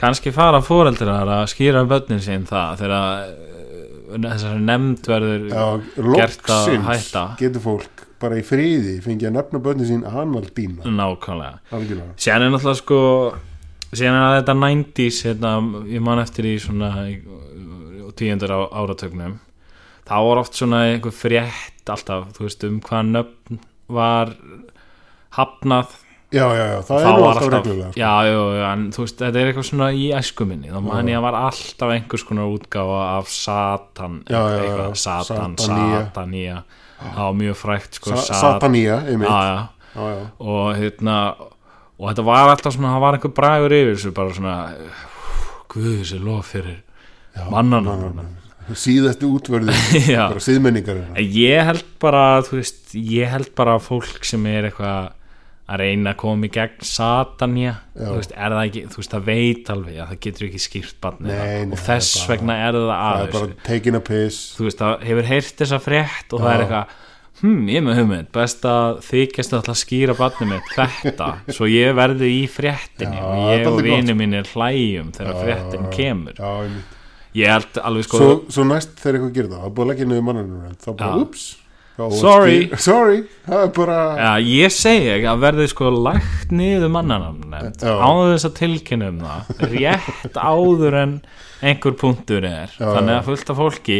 kannski fara fóreldrar að skýra börnin sín það þegar eh, þessari nefnd verður
Já,
gert að
loksins
hætta
getur fólk bara í friði fengið að nefna börnin sín Analdína
Nákvæmlega
algjörlega
Sér er náttúrulega sko Sér er að þetta 90s hérna, ég man eftir í svona tíundur á áratögnum þá var oft svona einhver frétt alltaf, þú veist, um hvað nöfn var hafnað
Já, já, já,
þá
það er nú
var
alltaf
alltaf,
reglulega sko.
já, já, já, en þú veist, þetta er eitthvað svona í æsku minni, þá man ég að var alltaf einhvers konar útgáfa af Satan
Já, já, já,
eitthvað, Satan,
Satanía.
Satanía það var mjög frægt sko,
Sa
Sat-
Satanía, einmitt
já,
já,
já,
já.
og hérna og þetta var alltaf svona, það var einhver bragur yfir þessu bara svona "Úff, guð, þessi lof fyrir mannana
mannanna. síðastu útvörði
já,
bara síðmenningar
En ég held bara, þú veist, ég held bara að fólk sem er eitthvað að reyna að koma í gegn satanja þú veist, er það ekki, þú veist, það veit alveg að það getur ekki skýrt barnið
Nei,
það.
nei,
og þess
það er bara-
vegna er það
það er
aðeins
bara taking a piss
þú veist, það hefur heyrt þessa frétt og það er eitthvað hm, ég er með hugmynd, best að þykjast alltaf að skýra barnið mitt þetta svo ég verði í fréttinni
Já,
og
það er
ég og
gott.
vinið mínir hlægjum þegar fréttin kemur
já, einmitt
ég held alveg sko
svo, svo næst þegar eitthvað gerir það, það er búið að leggja niður mannanum þá bara,
Já.
ups þá var
Sorry.
skýr- sorry, það er bara
Já, ég segi ekki að verði sko lægt niður mannanamnend
Já.
áður þess að tilkynna um það rétt áður en einhver punktur er
Já,
þannig
já.
að fullt af fólki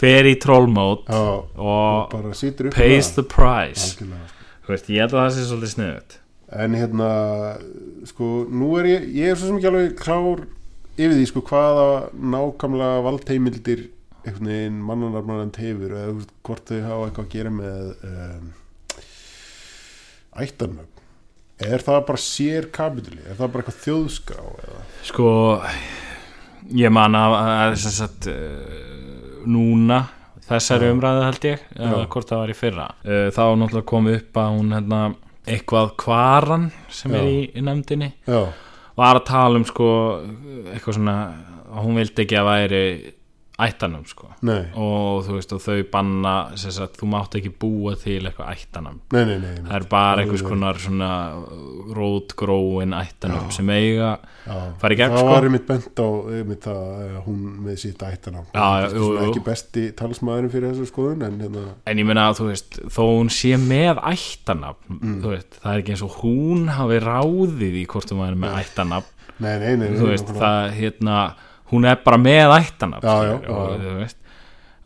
fer í trollmót
já,
og
bara sýtur upp hérna,
pays the price
algjörlega sko.
Þú veist, ég held að það sé svolítið sniðut
En hérna, sko, nú er ég, ég er svo sem ekki alveg klár yfir því, sko, hvaða nákvæmlega valdheimildir einhvern veginn mannanarmanand hefur eða þú veist, hvort þau hafa eitthvað að gera með um, ættarnöfn. Er það bara sér kapitúli? Er það bara eitthvað þjóðskrá? Eða?
Sko, ég man að, að sem sagt, eh, núna þessari umræðu held ég, eða
Já.
hvort það var í fyrra Eh, þá náttúrulega kom upp að hún hérna, eitthvað kvaran sem er í, í nefndinni
Já,
var að tala um sko eitthvað svona að hún vildi ekki að væri ættanum sko
nei,
og þú veist og þau banna sem sagt þú mátt ekki búa til eitthvað ættanum
nei, nei, nei,
það
nei.
er bara einhvers konar svona rótgróin ættanum sem eiga
Já.
fara í gegn,
það
sko.
var einmitt bent á einmitt það, eh, hún með sitt ættarnafn
Já, já,
Kannski
jú,
svona
jú.
ekki besti talsmaðurinn fyrir þessu skoðun en hérna,
en ég meina að þú veist þó hún sé með ættanafn
Mm.
þú veist það er ekki eins og hún hafi ráðið í hvort hún væri með ættanafn
nei, nei, nei, nei
þú veist
nákvæmlega.
það hérna hún er bara með ættanafn
Já, já,
skilur,
já,
og
já.
þú veist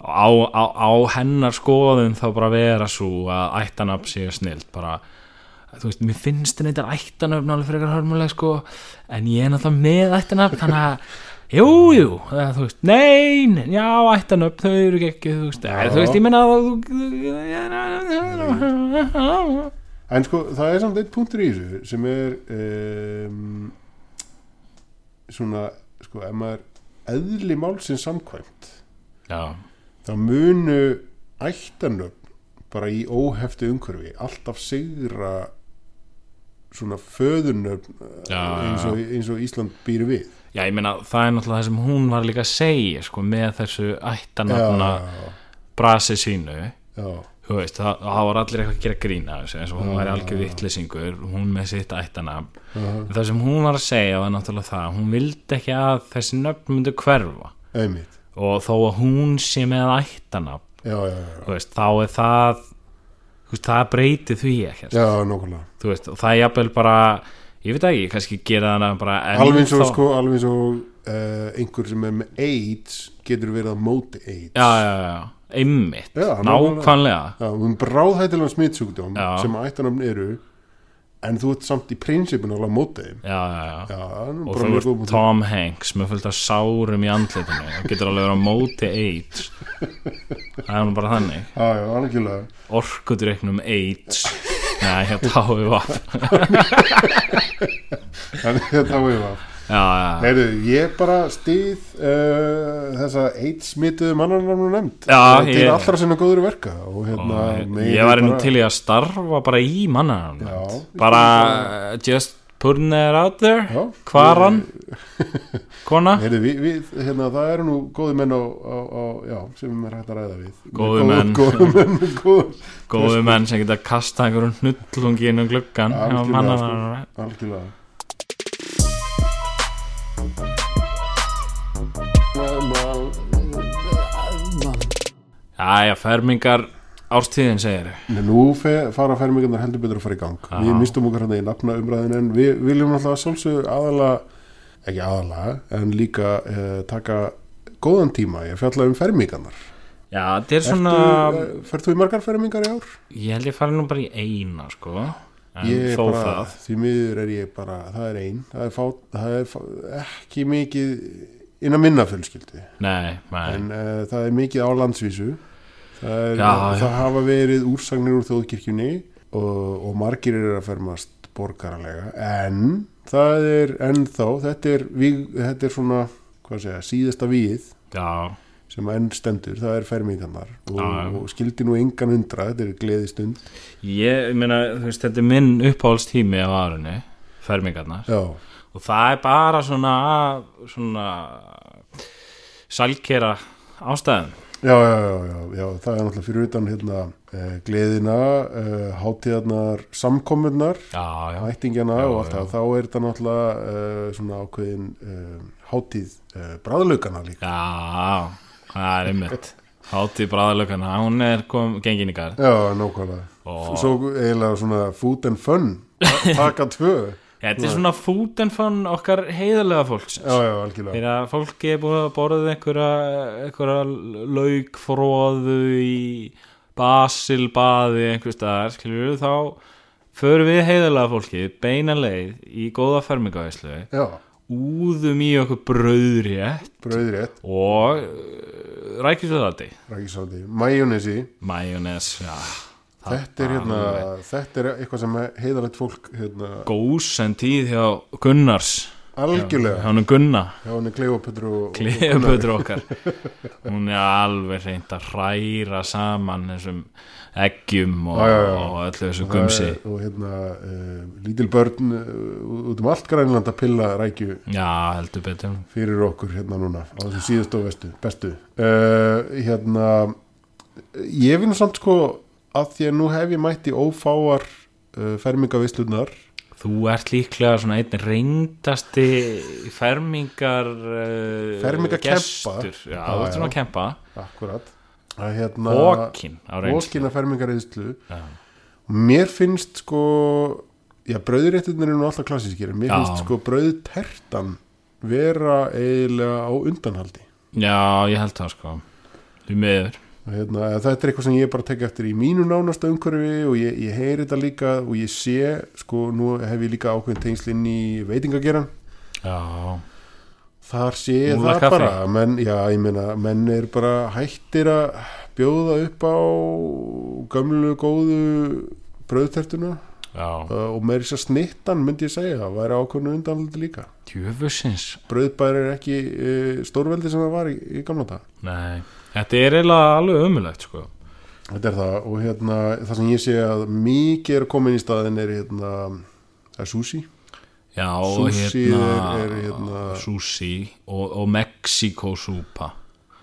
á, á, á hennar skoðun þá bara vera svo að ættanafn séu snilt bara þú veist, mér finnst þetta ættanöfn alveg frekar hörmuleg sko, en ég er náttúrulega með ættanöfn, þannig að jú, jú, eða, þú veist, nein já, ættanöfn, þau eru ekki þú veist, eða, þú veist, ég meina að þú-
En sko, það er samt einn punktur í þessu sem er um, svona, sko, ef maður eðli málsins samkvæmt
já,
þá munu ættanöfn bara í óheftu umhverfi alltaf sigra svona föðunöfn
Já,
eins og, eins og Ísland býr við
já, ég meina það er náttúrulega það sem hún var líka að segja sko, með þessu ættanöfna
já,
brasi sínu
já,
þú veist, það, það var allir eitthvað að gera grína þessu, eins og hún væri algjör vittlesingur hún með sitt ættanafn En það sem hún var að segja var náttúrulega það að hún vildi ekki að þessi nöfn myndu hverfa
einmitt
og þó að hún sé með ættanafn
já, já, já,
þú veist, þá er það þú veist, það breyti því ekki
já, nákvæmlega
þú veist, og það er jafnvel bara ég veit ekki, kannski gera hana bara enn
alveg eins og
þá-
sko, alveg eins og uh, einhver sem er með AIDS getur verið á móti AIDS
já, já, já, já, einmitt
Já, nákvæmlega.
nákvæmlega
Já, um bráðhættilega smittsjúkdóm
Já.
sem ættanöfn eru en þú ert samt í prinsipin alveg á móti þeim
já, já, já
Já, það er nú
og þú
bara mjög góð
veist
punktur.
Tom Hanks með fullt af sárum í andlitinu og getur alveg verið á móti AIDS það er nú bara þannig
Já, já, algjörlega
orkudryknum AIDS Nei, hér táið var
Þannig að það var það
Já, já, já,
Heyrðu, ég bara stýð uh, þessa AIDS smituðu mannarnar nú nefnd
Já,
Til
ég-
allra sinna góður verka og hérna
ég væri nú til í að starfa bara í manna
Já.
bara just putting it out there
Já.
Hvaran Kona
Heyrðu, við, við, hérna, það eru nú góði menn á, á, á, já, sem er hægt að ræða við
Góðir
Góð-
menn.
Góði menn, góð
Góðu menn sem geta kasta einhverjum hnullungi inn um gluggan Já,
Algjörlega,
manna-
sko. Algjörlega
Jæja, fermingar ástíðin segir
Nei, Nú fe, fara fermingarnar heldur betur að fara í gang
Aha.
Við mistum okkar hann í nafna umræðin en við viljum alltaf að sjálfsögðu aðalega ekki aðalega, en líka eh, taka góðan tíma í að fjalla um fermingarnar
Já, þetta er svona
Ertu, eh, Ferð þú í margar fermingar í ár?
Ég held ég fari nú bara í eina sko En
Ég er
þó
bara,
það
Því miður er ég bara, það er ein það er, fá, það er fá, ekki mikið innan minna fjölskyldi
Nei, nei,
en uh, það er mikið á landsvísu það, er,
Já, já.
það hafa verið úrsagnir úr þjóðkirkjunni og, og margir eru að fermast borgaralega en það er ennþá þetta er, víg, þetta er svona hvað segja, síðasta víð
já,
sem enn stendur, það er fermingarnar og,
Já, já.
og skildi nú engan undra þetta er gleðistund
ég meina, þú veist, þetta er minn uppáhaldstími á árunni, fermingarnar
já,
og það er bara svona svona salkera ástæðum
já, já, já, já, já það er náttúrulega fyrir utan hérna, uh, gleðina uh, hátíðarnar, samkominnar
Já, já,
ættingjana
Já,
og allt það þá er þetta náttúrulega uh, svona ákveðin uh, hátíð uh, bræðlaugana líka
já, það er einmitt Hátíð bræðalökana, hún er kom, gengin í garð
já, nákvæmlega
Ó.
svo eiginlega svona food and fun ta- taka tvö já,
Þetta er svona food and fun okkar heiðarlega fólksins
já, algjörlega
Þegar fólki er búið að borða einhverja, einhverja laukfróðu í basilbaði einhver staðar, skilur við þá förum við heiðalega fólki beina leið í góða fermingavæslu
já,
úðum í okkur brauðrétt
brauðrétt,
og uh, rækjusöðaldi
rækisáti, majónesi
majónes, já
þetta er hérna, þetta er eitthvað sem heiðalegt fólk hérna,
gósen tíð hjá Gunnars
algjörlega,
hann er Gunna
já, hann er Kleopötru og,
Kleopötru okkar hún er alveg reynd að hræra saman þessum eggjum og,
Já, já, já.
og öllu þessu
og,
gumsi
og, og hérna uh, lítil börn uh, út um allt grænland að pilla rækju
já, heldur betur
fyrir okkur hérna núna á þessu síðustu og vestu, bestu uh, hérna ég finn samt sko að því að nú hef ég mætt í ófáar uh, fermingavislunar
þú ert líklega svona einn reyndasti fermingar uh,
Fermingarkempa.
gestur. já,
Já,
þú ert svona
já.
að kempa
akkurat að hérna
ókin á reynslu
ókina fermingarvislu
Já.
mér finnst sko já brauðréttunir eru nú alltaf klassískir en mér
Já.
finnst sko brauðtertan vera eiginlega á undanhaldi
já, ég held það sko því miður
Og Hérna, eða þetta er eitthvað sem ég bara tek eftir í mínu nánasta umhverfi og ég, ég heyri þetta líka og ég sé, sko, nú hef ég líka ákveðin tengsl inn í veitingageran
já,
þar sé ég
Múla
það
kaffi.
bara menn, já, ég meina, menn er bara hættir að bjóða upp á gömlu góðu brauðtertuna
já
uh, og meiri sér snittan myndi ég segja, það væri ákveðinu undanhaldi líka
djöfusins
brauðbær er ekki uh, stórveldi sem það var í, í gamla dag
nei, þetta er eiginlega alveg ömulegt sko
Þetta er það og hérna það sem ég sé að mikið er komin í staðin er hérna það er sushi
Já,
Sushi
hérna,
er- er hérna-
Sushi og, og Mexikosúpa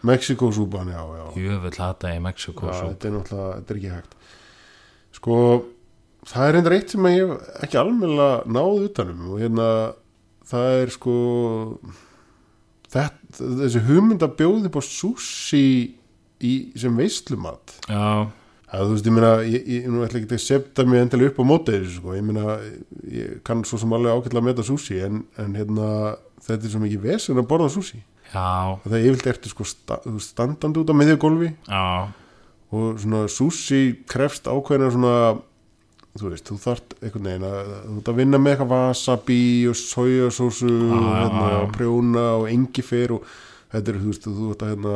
Mexikosúpan, já, já,
Jöfull hata ég
já
Mexikosúpa
þetta er náttúrulega, þetta er ekki hægt sko, það er eindir eitt sem ég hef ekki almennilega náð utanum og hérna það er sko þetta, þessi hugmynd að bjóða upp á sushi í, sem veistlumat
Já,
Það, þú veist, ég meina, ég, ég nú ætla ekki að septa mig endilega upp á móti þessu, sko, ég meina, ég kann svo sem alveg ágætlega að meta sushi, en, en hérna, þetta er svo mikið vesen að borða sushi.
já,
Og það er yfirlt eftir sko sta, þú veist, standandi út á miðju gólfi
já
og svona sushi krefst ákveðina svona, þú veist, þú þart einhvern veginn að, þú ert að vinna með eitthvað wasabi og sojasósu
Ah,
og
já,
hérna,
já.
og prjóna og engifer og þetta er, þú veist, þú ert að hérna,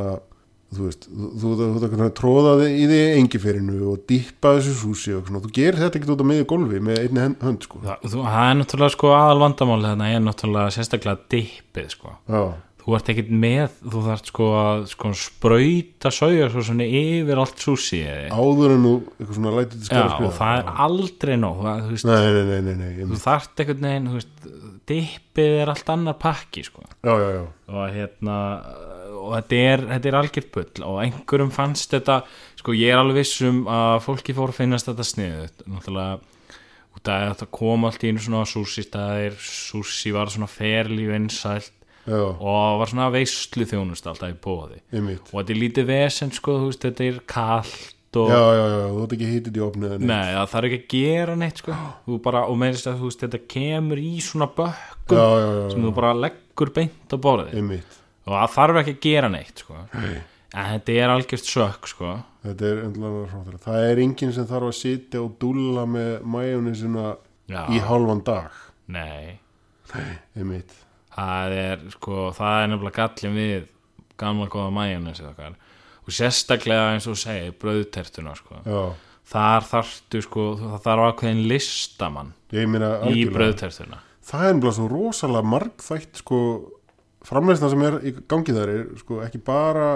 þú veist, þú, þú, þú, þú, þú tróðaði í því engiferinu og dýppa þessu súsi og svona, þú gerir þetta ekkert út á miðju gólfi með einni hen- hönd, sko
Það, þú, það er náttúrulega sko aðal vandamál þarna er náttúrulega sérstaklega dippið sko
Já,
þú ert ekkert með þú þarft sko að sko, sprauta sauja svo svona yfir allt sushi eða
áður en þú eitthvað svona lætur til
Já,
skjára
og það er aldrei nóg það, þú, veist,
nei, nei, nei, nei, nei
þú
einmitt.
þarft ekkert neginn þú veist, dippið er allt annar pakki sko.
já, já, já,
og hérna og þetta er, þetta er algjört bull og einhverjum fannst þetta sko ég er alveg viss um að fólki fór að finnast þetta sniðut náttúrulega út af að þetta kom allt í einu svona sushi staðir, sushi var svona ferlíf einsælt
já,
og var svona veislu þjónust alltaf í bóði
einmitt
og þetta er lítið vesend sko, þú veist, þetta er kallt og
já, já, já, þú ert ekki hýtit í opnið eða neitt.
Nei, það þarf ekki að gera neitt sko. Þú bara, og meðist að þú veist þetta kemur í svona bökkum
já, já, já,
sem þú bara leggur beint á borðið
einmitt
og það þarf ekki að gera neitt sko. en þetta er algjört sökk sko.
þetta er endurlega hróttur það er enginn sem þarf að sitja og dúlla með majónisina
Já.
í halvan dag
Nei,
einmitt,
það er sko, það er nefnilega gallin við gamla góða mæjunis og sérstaklega eins og þú segir bröðtertuna sko.
já
þar þarftu sko, það þarf ákveðin listamann
ég meina
í
algjörlega.
bröðtertuna
það er ennbláð svo rosalega margþætt sko, framleysna sem er í gangi þar er sko, ekki bara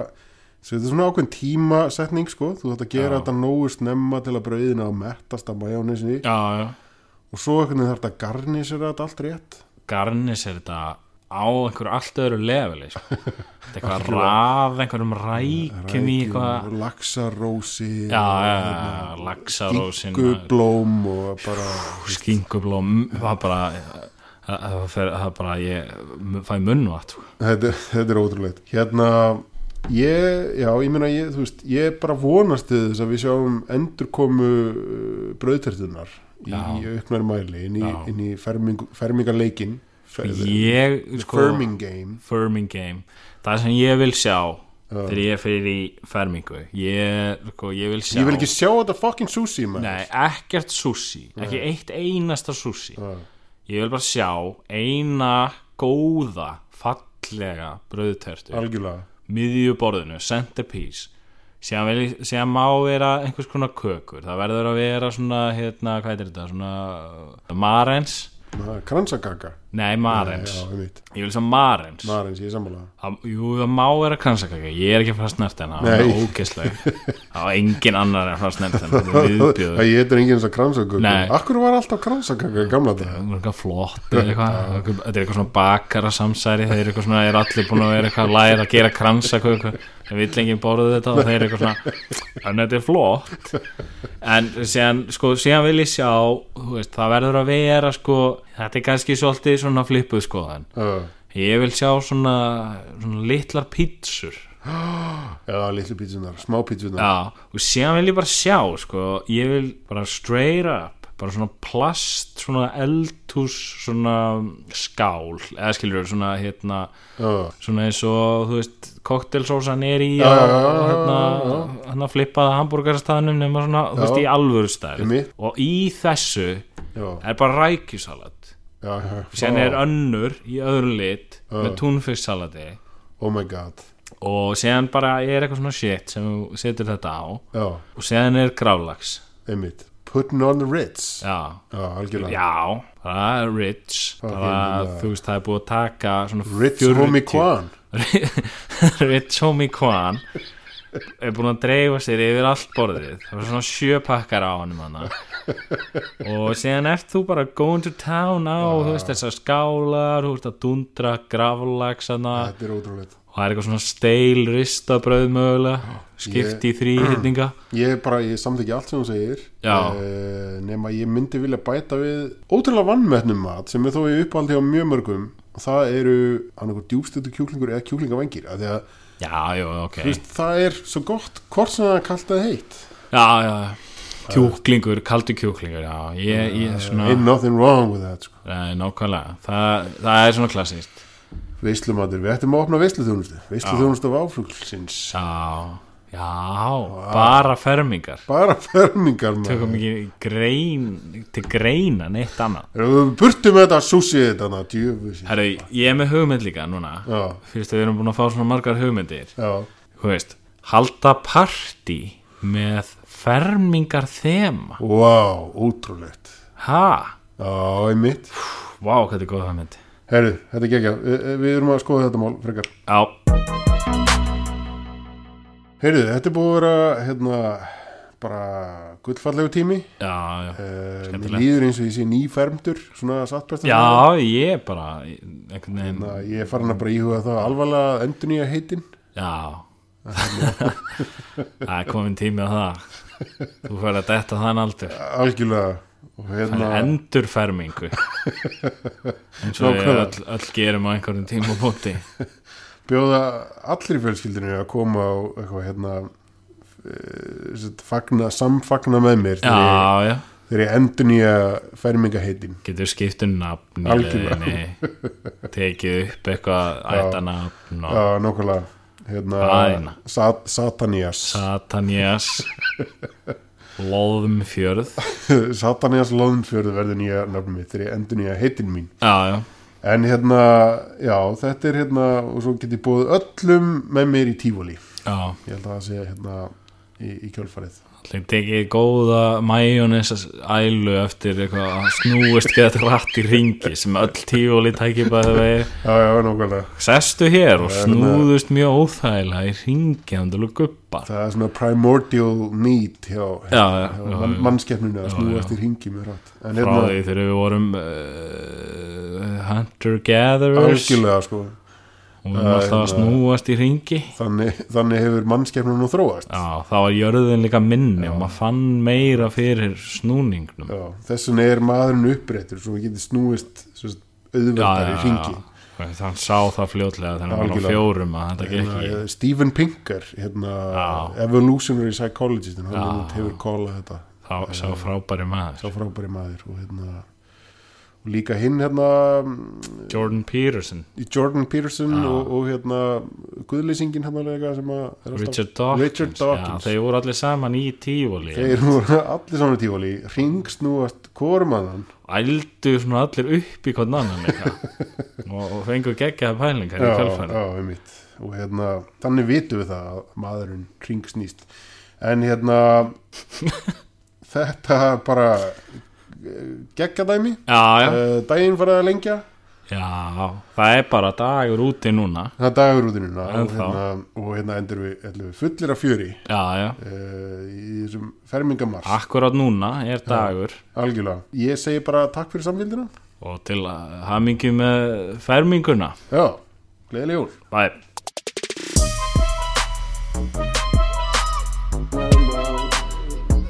svo þetta er svona ákveðin tímasetning sko, þú þátt að gera
Já.
þetta nógu snemma til að brauðina og mettast að majónisinni
Já, já
og svo einhvern veginn þarf þetta að garnisera þetta allt rétt
Garnis er þetta á einhverju allt öðru leveli sko. þetta er eitthvað að raf einhverjum rækjum í eitthvað
Rækjur, laxarósi
já, já,
hérna
já, laxarósin
guggublóm og bara
skingublóm það bara það- það fer- það bara ég fæ munnvat sko.
þetta, er- þetta er ótrúlegt hérna ég, já, ég meina ég, þú veist, ég bara vonast til þess að við sjáum endurkomu bröðtertunar í
Já.
auknar mæli inn í,
Já.
inn í ferming, fermingarleikin fer,
ég sko
firming game
firming game það sem ég vil sjá þegar ég fyrir í fermingu ég, sko, ég vil sjá
ég vil ekki sjá þetta fucking sushi maður.
Nei, ekkert sushi, ekki eitt einasta sushi
Já.
Ég vil bara sjá eina góða, fallega brauðtertu,
algjörlega
miðjuborðinu, centerpiece sem, vil, ég- sem má vera einhvers konar kökur, það verður að vera svona, hérna, hvað er þetta, svona uh, marens,
Na, kransakaka
nei marens
já, einmitt.
Ég vil sjá marens
marins, ég er sammála
það, Jú, það má vera kransakaka, ég er ekki að fara að snert hennar, það
Nei.
er ógeðsleg Það var engin annar en að fara að snert hennar, það er viðbjöður
það ég heitir enginn þess að kransakaka
Nei.
akkur var alltaf kransakaka í gamla dag
Það er eitthvað flott eða eitthvað þetta er eitthvað svona bakara samsæri þeir eru eitthvað svona, er allir búin að vera eitthvað að læra að gera kransa þeir vill enginn borða þetta og þeir eru eitthvað svona en þetta er flott en síðan, sko, síðan vil ég sjá þú veist, það verður að vera sko, þetta er kannski svolítið svona flippuð sko, en
uh,
ég vil sjá svona, svona litlar pítsur
já, litlu pítsunar, smá pítsunar
já, og síðan vil ég bara sjá sko, ég vil bara straight up bara svona plast, svona eldhús svona skál eða skilur svona hérna
uh,
svona eins og, þú veist, koktelsósan er í
Já,
á,
já, já, já,
hérna,
já,
hérna flippaða hambúrgarstaðnum nema svona, þú
Já.
veist, í alvöru stærð
Einmitt.
og í þessu
já,
er bara rækjusalat
já, já,
sem
já.
er önnur í öðrum lit með
Já.
túnfisksalati
oh my god
og séðan bara er eitthvað svona shit sem þú setur þetta á
já,
og séðan er grálags
einmitt putting on the Ritz já,
já,
algjörlega
já það er rich
Það er
bara,
hérna-
þú veist það er búið að taka svona
Ritz
40
homie Kwan
rich homie Kwan er búin að dreifa sér yfir allt borðið það var svona sjö pakkar á honum hana. og síðan ert þú bara going to town á
Ah.
þú veist þessar skálar þú veist að dundra gravlagsana
þetta er ótrúlega
og það er eitthvað svona steil ristabröð mögulega skipt í þrýhýtninga
ég bara, ég samþykja allt sem hún segir
Já.
Eh, nema ég myndi vilja bæta við ótrúlega vannmennum mat sem er þó í uppaldi á mjög mörgum og það eru annarkur djúbstötu kjúklingur eða kjúklingavengir af því að
já, jú, ok
þú veist, það er svo gott hvort sem það er kalt eða heitt
já, já, kjúklingur, kaldur kjúklingur já, ég, ég svona
ain't nothing wrong with that sko.
nei, nákvæmlega, Þa, það er svona klassist
veislumatur, við ættum að opna veisluþjónustu veisluþjónustu af áfruglsins
já, já bara fermingar
bara fermingar maður.
tökum ekki grein til greina neitt annað
Burtu með þetta súsið þetta djöfusi
Herru, ég er með hugmynd líka núna
Já.
fyrst að við erum búin að fá svona margar hugmyndir
Já,
þú veist, halda partí með fermingar þema
vá, wow, ótrúlegt
ha,
Já, einmitt
vá, hvað þetta er góð hugmynd
Herru, Herru, þetta er gekkja, við erum að skoða þetta mál frekar.
Já,
Herru, þetta er búið að vera hérna, bara gullfallegu tími
já, já
uh, Mér
Skemmtilegt.
líður eins og ég sé nýfermdur svona sattbæst
Já, ég er bara einhvern veginn,
Ég er farin að bara íhuga það alvarlega að endur nýja heitin
já Það er komin tími á það Þú fyrir að detta þann aldur
algjörlega og hérna,
Endurfermingu eins og við
Nákvæmlega.
öll, öll gerum á einhverjum tímabóti
bjóða allir í fjölskyldinu að koma og eitthvað hérna eh, sem sagt, fagna, samfagna með mér þegar ég,
Já, já,
þegar ég endur nýja fermingaheitin
getur skipt um nafn í
Algjörlega.
leiðinni, tekið upp eitthvað ættanafn og
Já, nákvæmlega hérna,
Æna.
sat, Satanias
Satanias Lóðumfjörð
Satanias Lóðnfjörð verður nýja nafnum mitt þegar ég endur nýja heitin mín
Já, já,
En hérna, já, þetta er hérna og svo get ég búið öllum með mér í tífóli.
já
Ég held að það sé hérna í, í kjölfarið.
Þeim tekið góða majónis ælu eftir eitthvað að snúist gett rætt í ringi sem öll tífóli tæki bæði vegi
Já, já, nákvæmlega.
sestu hér og
Það er
snúðust mjög óþægilega í ringi andal og gubbar
Það er svona primordial need hjá,
Já,
hjá,
já,
hjá
já,
man,
já.
mannskeppninu að
Já,
snúast
já.
í ringi mjög rátt.
frá
En hérna,
því þegar við vorum uh, hunter-gatherers og
algjörlega, hérna- sko,
við vorum alltaf að snúast í ringi
þannig, þannig hefur mannskeppninu þróast.
Já, þá var jörðin líka minni og maður fann meira fyrir snúningnum
Já, þess vegna er maðurinn uppréttur svo hann getur snúist sem sagt, auðveldar í ringi.
Þann sá það fljótlega þegar hann var á
Algjörlega.
fjórum að þetta gekk ekki
Hérna, Stephen Pinker, hérna,
Já.
evolutionary psychologist, hann
Já.
hefur kólað þetta.
Þá, Eh, sá frábæri maður
sá frábæri maður og hérna og líka hinn hérna mm,
Jordan Peterson,
Jordan Peterson
Já.
og, og hérna guðlýsingin hérna lega sem að er alltaf-
Richard Dawkins,
Richard Dawkins.
Já, þeir voru allir saman í tífóli
þeir voru allir saman í tífóli ringsnúast hvorum að hann
ældu svona allir upp í hvern annan eitthvað. og, og fengu geggjaða pælingar í kjálfæri
já, einmitt og hérna, þannig vitum við það að maðurinn ringsnýst en hérna þetta bara eh, geggjadæmi
já, já,
uh, daginn farið að lengja
já, það er bara dagur úti núna
það er dagur út í núna og
Ennþá.
hérna, og hérna endur við, ætlum við fullir af fjöri
já, já,
uh, í þessum fermingamars
akkurat núna er dagur
algjörlega, ég segi bara takk fyrir samvildina
og til að hamingi með ferminguna
já, gleðileg jól
bye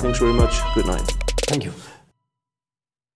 Thanks very much. Good night.
Thank you.